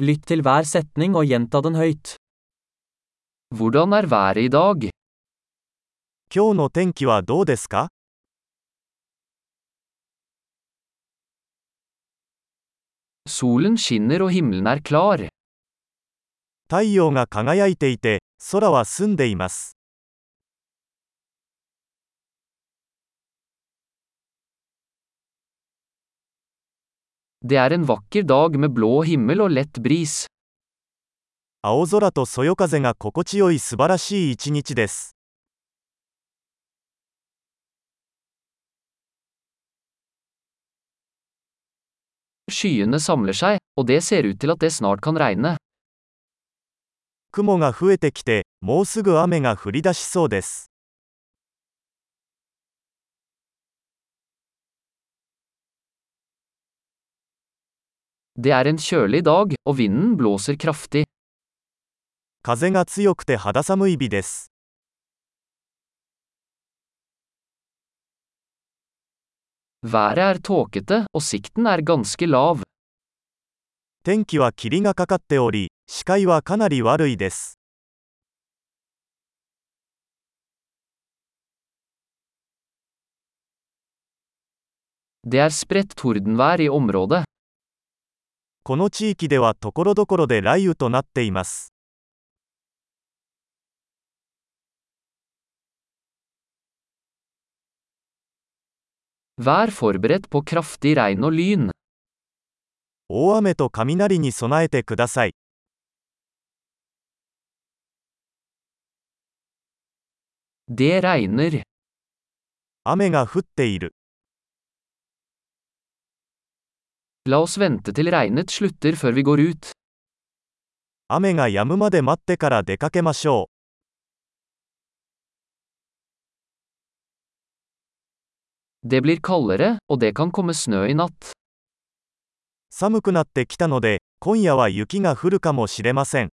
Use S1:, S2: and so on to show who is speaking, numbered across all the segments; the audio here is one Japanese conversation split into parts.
S1: Lytt til hver setning og gjenta den høyt.
S2: Hvordan er været i dag?
S3: 今日の天気はどうですか
S2: Solen skinner og himmelen er klar.
S3: 太陽が輝いていて、空は澄んでいます。
S2: Det er en vakker dag med blå himmel og lett bris.
S3: 青空とそよ風が心地よい素晴らしい一日です。
S2: Skyene samler seg, og det ser ut til at det snart kan regne.
S3: 雲が増えてきて、もうすぐ雨が降り出しそうです。
S2: Det er en kjølig dag, og vinden blåser kraftig.
S3: 風が強くて肌寒い日です。
S2: Været er tåkete, og sikten er ganske lav.
S3: 天気は霧がかかっており、視界はかなり悪いです。
S2: Det er spredt tordenvær i området.
S3: この地域ではところどころで雷雨となっています。
S2: Vær forberedt på kraftig regn og lyn.
S3: 大雨と雷に備えてください。
S2: Det regner.
S3: 雨が降っている。
S2: La oss vente til regnet slutter før vi går ut.
S3: 雨が止むまで待ってから出かけましょう。
S2: Det blir kaldere, og det kan komme snø i natt.
S3: 寒くなってきたので、今夜は雪が降るかもしれません。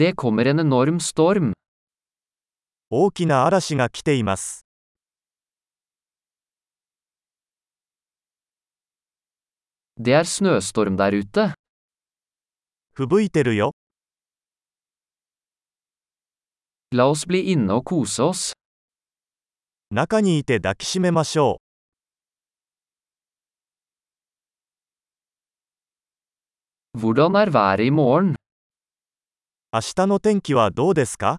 S2: Det kommer en enorm storm.
S3: 大きな嵐が来ています。
S2: Det er snøstorm der ute.
S3: 吹雪いてるよ。
S2: La oss bli inne og kose oss.
S3: 中にいて抱きしめましょう。
S2: Hvordan er været i morgen?
S3: 明日の天気はどうですか